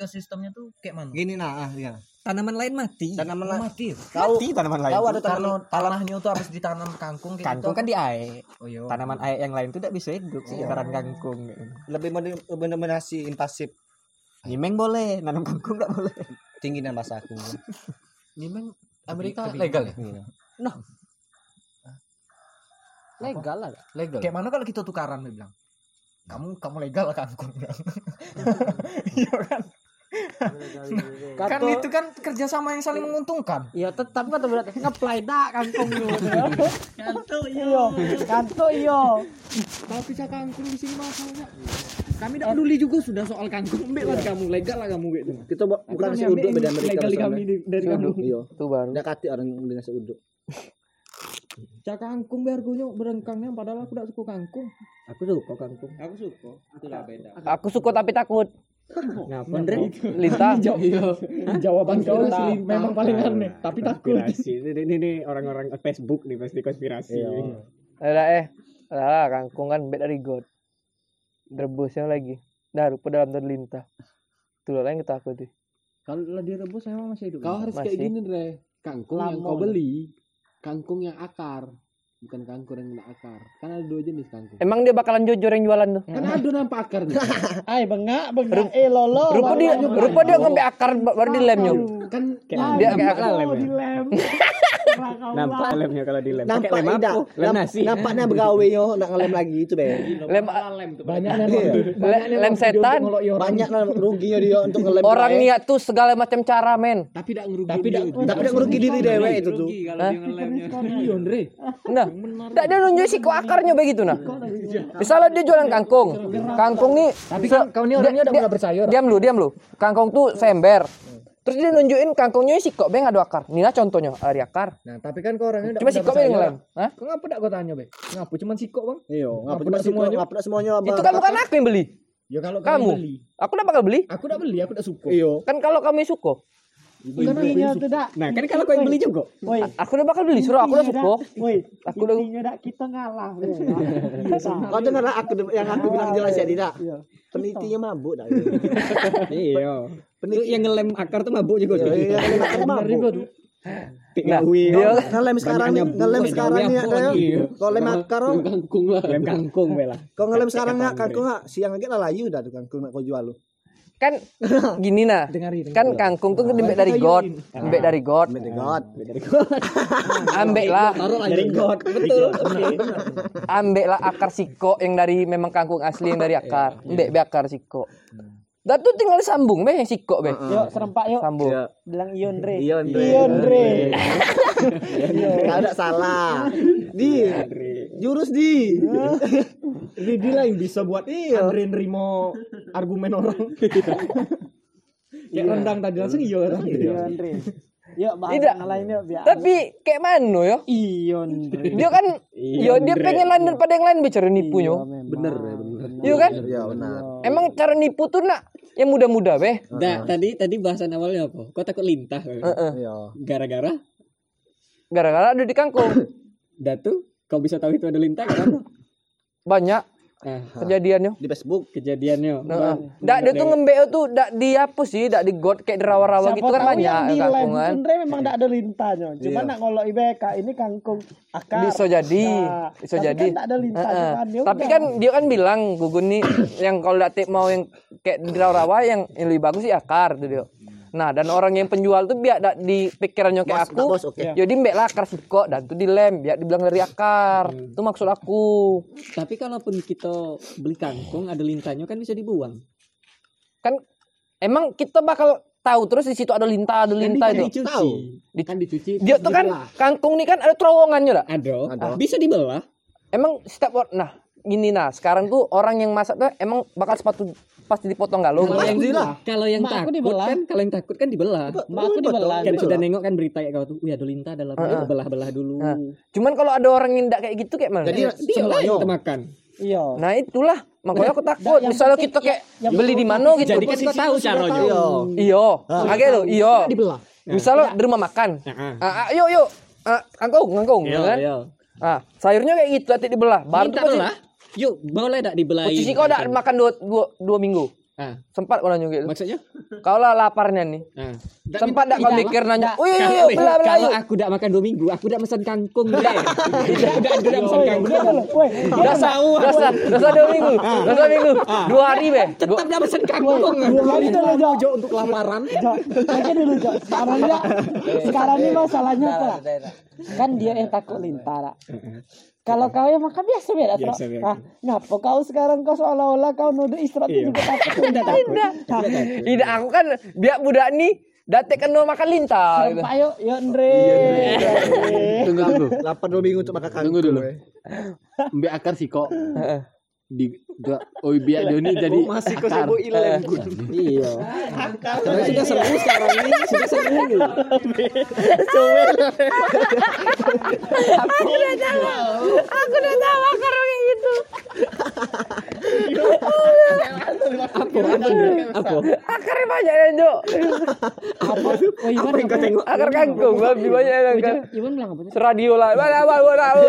ekosistemnya tuh kayak mana? Gini nah, ah, ya. Iya, Tanaman lain mati. Tanaman Oh, lain. mati. Tahu Mati tanaman lain. tahu ada Karena tanaman tanahnya tuh harus ditanam kangkung kayak Kangkung kan di air. Oh, iya. Tanaman air yang lain tuh tidak bisa hidup sih karena kangkung. lebih men- mendominasi invasif Nyimeng boleh, nanam kangkung tidak boleh. tinggi dan bahasa aku. Iya. Nyimeng Amerika legal ya? legal lah. Legal. Kayak mana kalau kita tukaran dia bilang? Kamu kamu legal lah kangkung. Kan Iya kan? Kan itu kan kerjasama yang saling menguntungkan. Ya tetap kan tuh berarti ngeplay dak kangkung lu. Kantuk yo. Kanto yo. Tapi saya kangkung di sini masalahnya. Kami tidak peduli juga sudah soal kangkung. Ambil lah kamu, legal lah kamu gitu. Kita bu- bukan Kami nasi ambil uduk ini beda Amerika Legal kami soalnya. di- dari kamu. Uduk, iya. Itu baru. Udah kati orang beli nasi uduk. Cak kangkung biar gue berengkangnya padahal aku tidak suka kangkung. Aku suka kangkung. Aku suka. Itulah beda. Aku suka tapi takut. Ngapa Andre? Lintang. Jawaban kau Konspirasi. asli memang paling aneh, tapi takut. Ini ini, ini orang-orang Facebook nih pasti konspirasi. Ada eh. Lah, kangkung kan beda dari God. Rebusnya lagi. Nah, rupa dalam terlintah. Itulah yang ketakuti. Kalau lah direbus memang masih hidup. Kau harus kayak Masih. gini, Dre. Kangkung yang kau Lamon. beli, kangkung yang akar, bukan kangkung yang tidak akar. Kan ada dua jenis kangkung. Emang dia bakalan jujur yang jualan Ya. tuh. Kan ada nampak akarnya. Hai bengak bengak eh lolo. Rupa dia Bakalan rupa dia ngambil akar ba- baru dilemnya. kan Dia kayak akar. Oh, ya. ya. dilem. Nampak lemnya kalau di lem. Nampak Pakai lem tidak? apa? Lem Namp- nasi. Nampaknya begawe yo, nak ngelem lagi itu deh. Lem lem tuh. Banyak Iya. nih. le- lem setan. Banyak nah, ruginya dia untuk ngelem. eh, Orang deh. niat tuh segala macam cara, men. Tapi tidak ngerugi. Tapi tidak- diri. tapi tidak ngerugi diri dewe itu tuh. Rugi kalau Hah? dia ngelemnya. Iya, Andre. Nah, tak ada nunjuk si akarnya begitu nah. Misalnya dia jualan kangkung. Kangkung nih Tapi kan kau ini orangnya udah dia- mulai percaya. diam lu diam lu kangkung tuh seember terus dia nunjukin kangkungnya si kok beng adu akar Nina contohnya ari akar Nah, tapi kan kau orangnya udah cuma si kok beng ngelem Hah? Kau ngapa tidak kau tanya, Be? Ngapa cuman sikok, Bang? Iya, ngapa Ngapa tidak tidak semuanya? semuanya? Ngapa tidak semuanya? Abang? itu kan bukan aku yang beli Ya kalau kau Kamu? beli. aku udah bakal beli Aku tidak beli, aku tidak suka. Iya. kan kalau kami suko Intinya tuh dak. Nah, kan kalau kau yang beli juga. A- aku udah bakal beli suruh aku udah suko aku udah dak kita ngalah. Iya. Kau dengar lah aku yang aku bilang jelas ya tidak. Penelitinya mabuk dah. Iya. Itu yang ngelem akar tuh mabuk juga tuh. Iya, kan mabuk. Iya. Nah, dia Ngelem sekarang nih, ngelem sekarang nih. Kau lem akar, oh. Kangkung lah. lem kangkung bela. kau ngelem sekarang nggak kangkung nggak siang lagi lah layu dah tuh kangkung nak kau jual lu. kan gini nah kan kangkung tuh gede dari god gede dari god Mending God. ambek lah Dari got. Betul. ambek lah akar siko yang dari memang kangkung asli yang dari akar ambek be akar siko dan tuh tinggal sambung be yang siko be Yuk, serempak yuk sambung Bilang Ion Re. Ion Dre. Ion Dre. Kau tidak Iya. salah. Di. Jurus di. Ridi lah yang bisa buat Iya. Andre nerimo argumen orang. Kayak rendang tadi langsung iya orang. Yuk, Tidak. Tapi kayak mana yo? Ion Re. Dia kan yo dia pengen lain daripada yang lain bicara nipu yo. Bener ya, bener. Yo kan? Ya benar. Emang cara nipu tuh nak yang muda-muda be. Nah, tadi tadi bahasan awalnya apa? Kau takut lintah. kan? Heeh. Iya. Gara-gara Gara-gara ada di kangkung. datu kau bisa tahu itu ada lintah karena Banyak nah, kejadian yo. Di Facebook. kejadiannya. Heeh. Dak dia tuh ngembek tuh dak dihapus sih, dak di god kayak derawa-rawa gitu kan banyak kangkung kan. Iya. memang tidak ada lintanya. Cuma nak ngolok IBK ini kangkung akar. Bisa jadi, Ah, Nah, bisa tapi jadi. kan tak ada lintah Heeh. depan, ya Tapi udah. kan dia kan bilang Gugun nih yang kalau datik mau yang kayak rawa yang, yang lebih bagus sih akar tuh dia. Nah dan orang yang penjual tuh biar dak di pikirannya Bos, kayak aku. bos, oke. Jadi mbak lah akar siko dan tuh dilem biar dibilang dari akar. Itu maksud aku. Tapi kalaupun kita beli kangkung ada lintahnya kan bisa dibuang. Kan emang kita bakal tahu terus di situ ada lintah ada lintah Kan itu. dicuci. Tahu. Kan dicuci. Dia tuh kan kangkung nih kan ada terowongannya lah. Ada. Ada. Bisa dibelah. Emang setiap orang nah gini nah sekarang tuh orang yang masak tuh emang bakal sepatu pasti dipotong galung. Kalau yang dibelah. kalau yang Mak aku takut dibelah. kan kalau yang takut kan dibelah. Mak aku Betul, dibelah. Kan betul. sudah nengok kan berita kayak kau tuh, wih ada lintah dalam Heeh. belah-belah dulu. Heeh. Cuman kalau ada orang yang tidak kayak gitu kayak mana? Jadi Dia lah semuanya. yang kita makan. Iya. nah itulah makanya aku takut misalnya kita kayak beli di mana gitu. Jadi kan kau tahu caranya. Iya. Iyo, agak lo, iyo. Dibelah. iya. Iya. Misalnya di rumah makan. Heeh. Ah, ah, yuk yuk. Ah, kangkung, kangkung, Iya, ya kan? iya. Ah, sayurnya kayak gitu nanti dibelah. Baru Baru tuh pasti lah. Yuk, boleh tak dibelahin? posisi kau udah makan dua, dua, dua minggu. Ah. Sempat kau nanya gitu. Maksudnya? Kau lah laparnya nih. Ah. Sempat tak kau tidak, mikir nanya. tidak. Oh iya iya Kalau- belah belah. Kalau yuk." aku tidak makan dua minggu, aku tidak pesan kangkung. Tidak, tidak, tidak Iya, pesan kangkung. Dasar dasar dasar dua minggu. Ah. Dasar minggu. Dua hari be. Dua- Tetap tidak pesan kangkung. Kita lo Jak. Untuk laparan. Jak. Aja iya. dulu Jak. Sekarang Jak. Sekarang ini masalahnya apa? lah? Kan dia yang takut lintara. Kalau kau yang makan biasa biasa. Biasa, biasa. Nah, ngapa kau sekarang kau seolah-olah kau noda istirahat Iya. juga takut. Tidak takut. Tidak aku kan biar budak nih datek kena makan lintah. gitu. Pak yuk, yuk Iya, Andre. Tunggu dulu. Lapar dua minggu untuk makan kangkung. Tunggu dulu. weh. Mbak akar sih kok. Di gua- oh biar dia ini jadi masih kau akar. sebo ilem gun. Iya. Karena sudah seru sekarang ini. gitu. Sudah seru. Aku udah tahu akar kayak gitu. Apa? Akarnya banyak ya Jo. Oh, Iwan apa? Akar kangkung babi banyak yang akar. Iwan bilang apa? Radio lah. Mana apa gua tahu.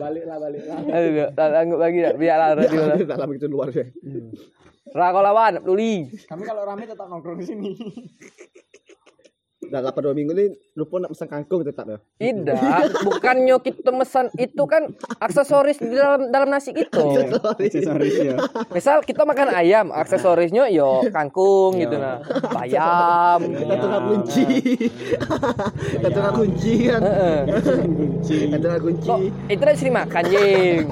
Baliklah baliklah. Aduh, tak sanggup lagi dah. Biarlah Nah, radio lah. Dalam itu luar ya. Rako lawan peduli. Kami kalau rame tetap nongkrong di sini. Dah lapar Nah, dua minggu ini lupa nak pesan kangkung tetap ya. Tidak, bukannya kita pesan itu kan aksesoris di dalam dalam nasi itu. Aksesoris ya. Misal kita makan ayam, aksesorisnya yo kangkung gitu nah. ya. Bayam. Kata kunci. Iya. Kata kunci kan. Heeh. Iya. Kata Kok kunci. itu dari sini makan, Jing.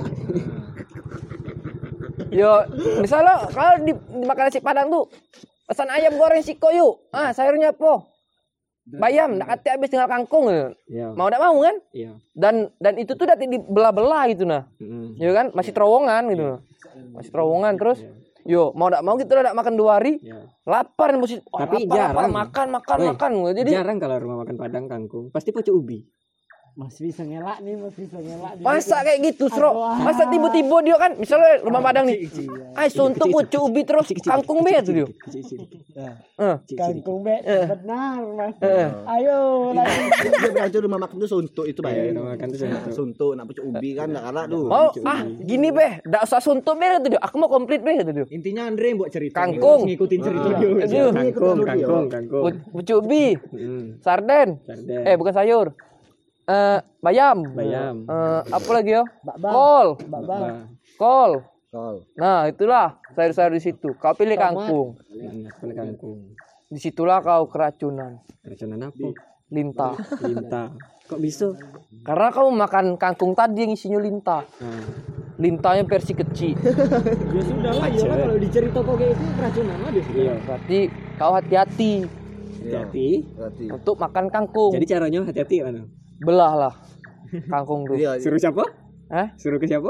Yo, misalnya kalau di, di makan nasi padang tuh pesan ayam goreng siko yuk. Ah, sayurnya apa? Bayam, nak ati habis tinggal kangkung. Iya. Mau enggak mau kan? Iya. Dan dan itu tuh dati dibelah-belah gitu nah. ya kan masih terowongan gitu loh masih terowongan terus yo mau tidak mau kita udah nggak makan dua hari Iya. lapar mesti oh, Tapi lapar, lapar, jarang. makan makan Woi, makan jadi Jarang kalau rumah makan padang kangkung, pasti pocong ubi. Masih bisa ngelak nih, masih bisa ngelak nih. masa Iya. kayak gitu sro masa tiba-tiba dia kan misalnya rumah padang nih ay suntuk ucu ubi terus kangkung be tuh dia Eh, Kangkung be, benar mas. eh. Ayo lagi. Dia berhancur rumah makan itu suntuk itu baik. Iya, Rumah makan itu suntuk. Iya. Suntuk nak pucuk ubi kan nak kalah tuh. mau ah gini beh dak usah suntuk be tuh dia aku mau komplit be tuh dia Intinya Andre yang buat cerita. Kangkung. Ngikutin cerita Ah. dia. Aduh. Kangkung, kangkung, kangkung. U- ucu ubi Hmm. sarden Sarden. eh bukan sayur eh bayam Bayam. Eh, apa lagi yo Bakbang. kol Bakbang. Nah, kol Kol. Nah, itulah sayur-sayur di situ. Kau pilih kangkung. enak sekali kangkung. Disitulah kau keracunan, Keracunan apa? lintah. Lintah. Kok bisa? Karena kamu makan kangkung tadi yang isinya lintah. Nah, Lintahnya versi kecil. ya sudah lah, iyalah kalau dicerita kok kayak itu keracunan lah dia. Iya. Berarti kau hati-hati Hati-hati. Berarti. untuk makan kangkung. Jadi caranya hati-hati mana? belahlah kangkung tuh. Iya. Suruh siapa? Hah? Suruh ke siapa?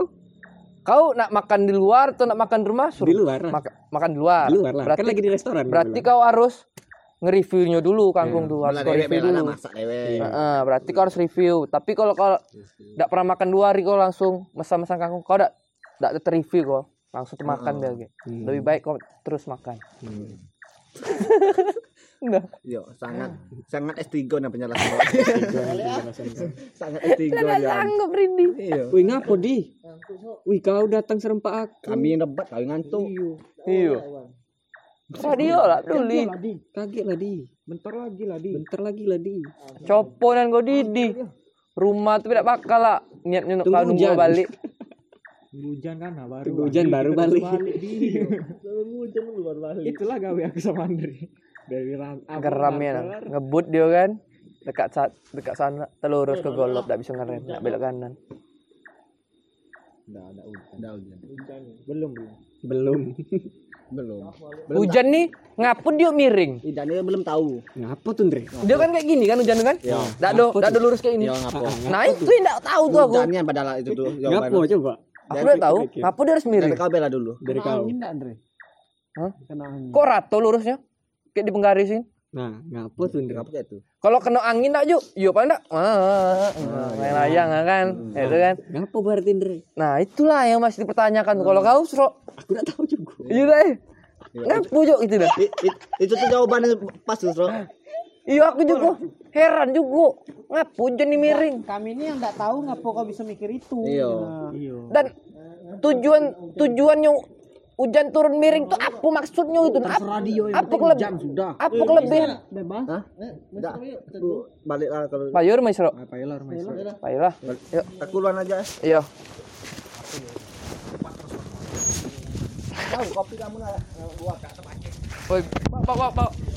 Kau nak makan di luar atau nak makan di rumah? Di luar lah. Maka- makan di luar. Di luar lah. Berarti, Kan lagi di restoran. berarti kan? kau harus nge-reviewnya dulu kangkung Iya. tuh. Harus Malah kau dewek review bela dulu. nak masak dewek. Heeh, berarti kau harus review. Tapi kalau kau tidak pernah makan dua hari kau langsung mesam-mesam kangkung, kau tidak tidak terreview kau langsung Oh. tu makan dia lagi. Iya. Lebih baik kau terus makan. nah, Yo, Iya, sangat sangat S3 nak penjelasan. sangat S3 ya. sanggup Rindi. Iya. Wih ngapo di? Wih kau datang serempak aku. Kami yang debat kau yang ngantuk. Iya. Radio lah peduli. Kaget lah di. Bentar lagi lah di. Bentar lagi lah di. Copo dan kau didi. Rumah tu tidak bakal lah niatnya nak Tunggu kau nunggu hujan. balik. Hujan kan nah, baru. Tunggu hujan baru balik. Itulah gawe aku sama Andre. Dari ram. Geram ya nang. Ngebut dia kan. Dekat sa- dekat sana terlurus ke golop tak bisa ngerem, nak belok kanan. Belum belum. Belum. Belum. Hujan nih ngapun dia miring. Tidak dia belum tahu. Ngapa tuh Andre? Dia kan kayak gini kan hujan kan? Iya. Dak do, dak do lurus kayak ini. Yo ngapo. Nah itu yang dak tahu tuh aku. Iya, Hujannya padahal itu tuh. Iya, Yo, Ngapa mana? coba? Aku udah tahu. Ngapa dia harus miring? Dari kau bela dulu. Dari kau. Kok rata lurusnya? Kayak di penggarisin. Nah, ngapa tuh Andre? Kenapa kayak itu? Kalau kena angin dak yuk, yuk paling dak. Ah, layang kan, itu kan. Ngapa berarti Andre? Nah itulah yang masih dipertanyakan. Kalau kau sro, Hmm. Aku nggak tahu juga. Ya, iya deh. Ngapa Jok, gitu dah? I- i- itu tuh jawabannya pas tuh, Bro. Iya aku juga heran juga. Ngapa hujan nih miring? Kami ini yang nggak tahu gitu. ngapa kok bisa mikir itu. Iya. Nah, dan tujuan tujuannya hujan turun miring tuh apa maksudnya itu apa Terserah dia yang apa penting keleb- jam sudah. apa kelebihan Bebas. Iya, Eh, Hah? Enggak. Balik lah kalau Pak Yur Mas Ro. Apa elar Ah, mas? Pak Yola. Yuk, aku luan aja. iya. Tahu kopi kamu Woi, bawa bawa bawa.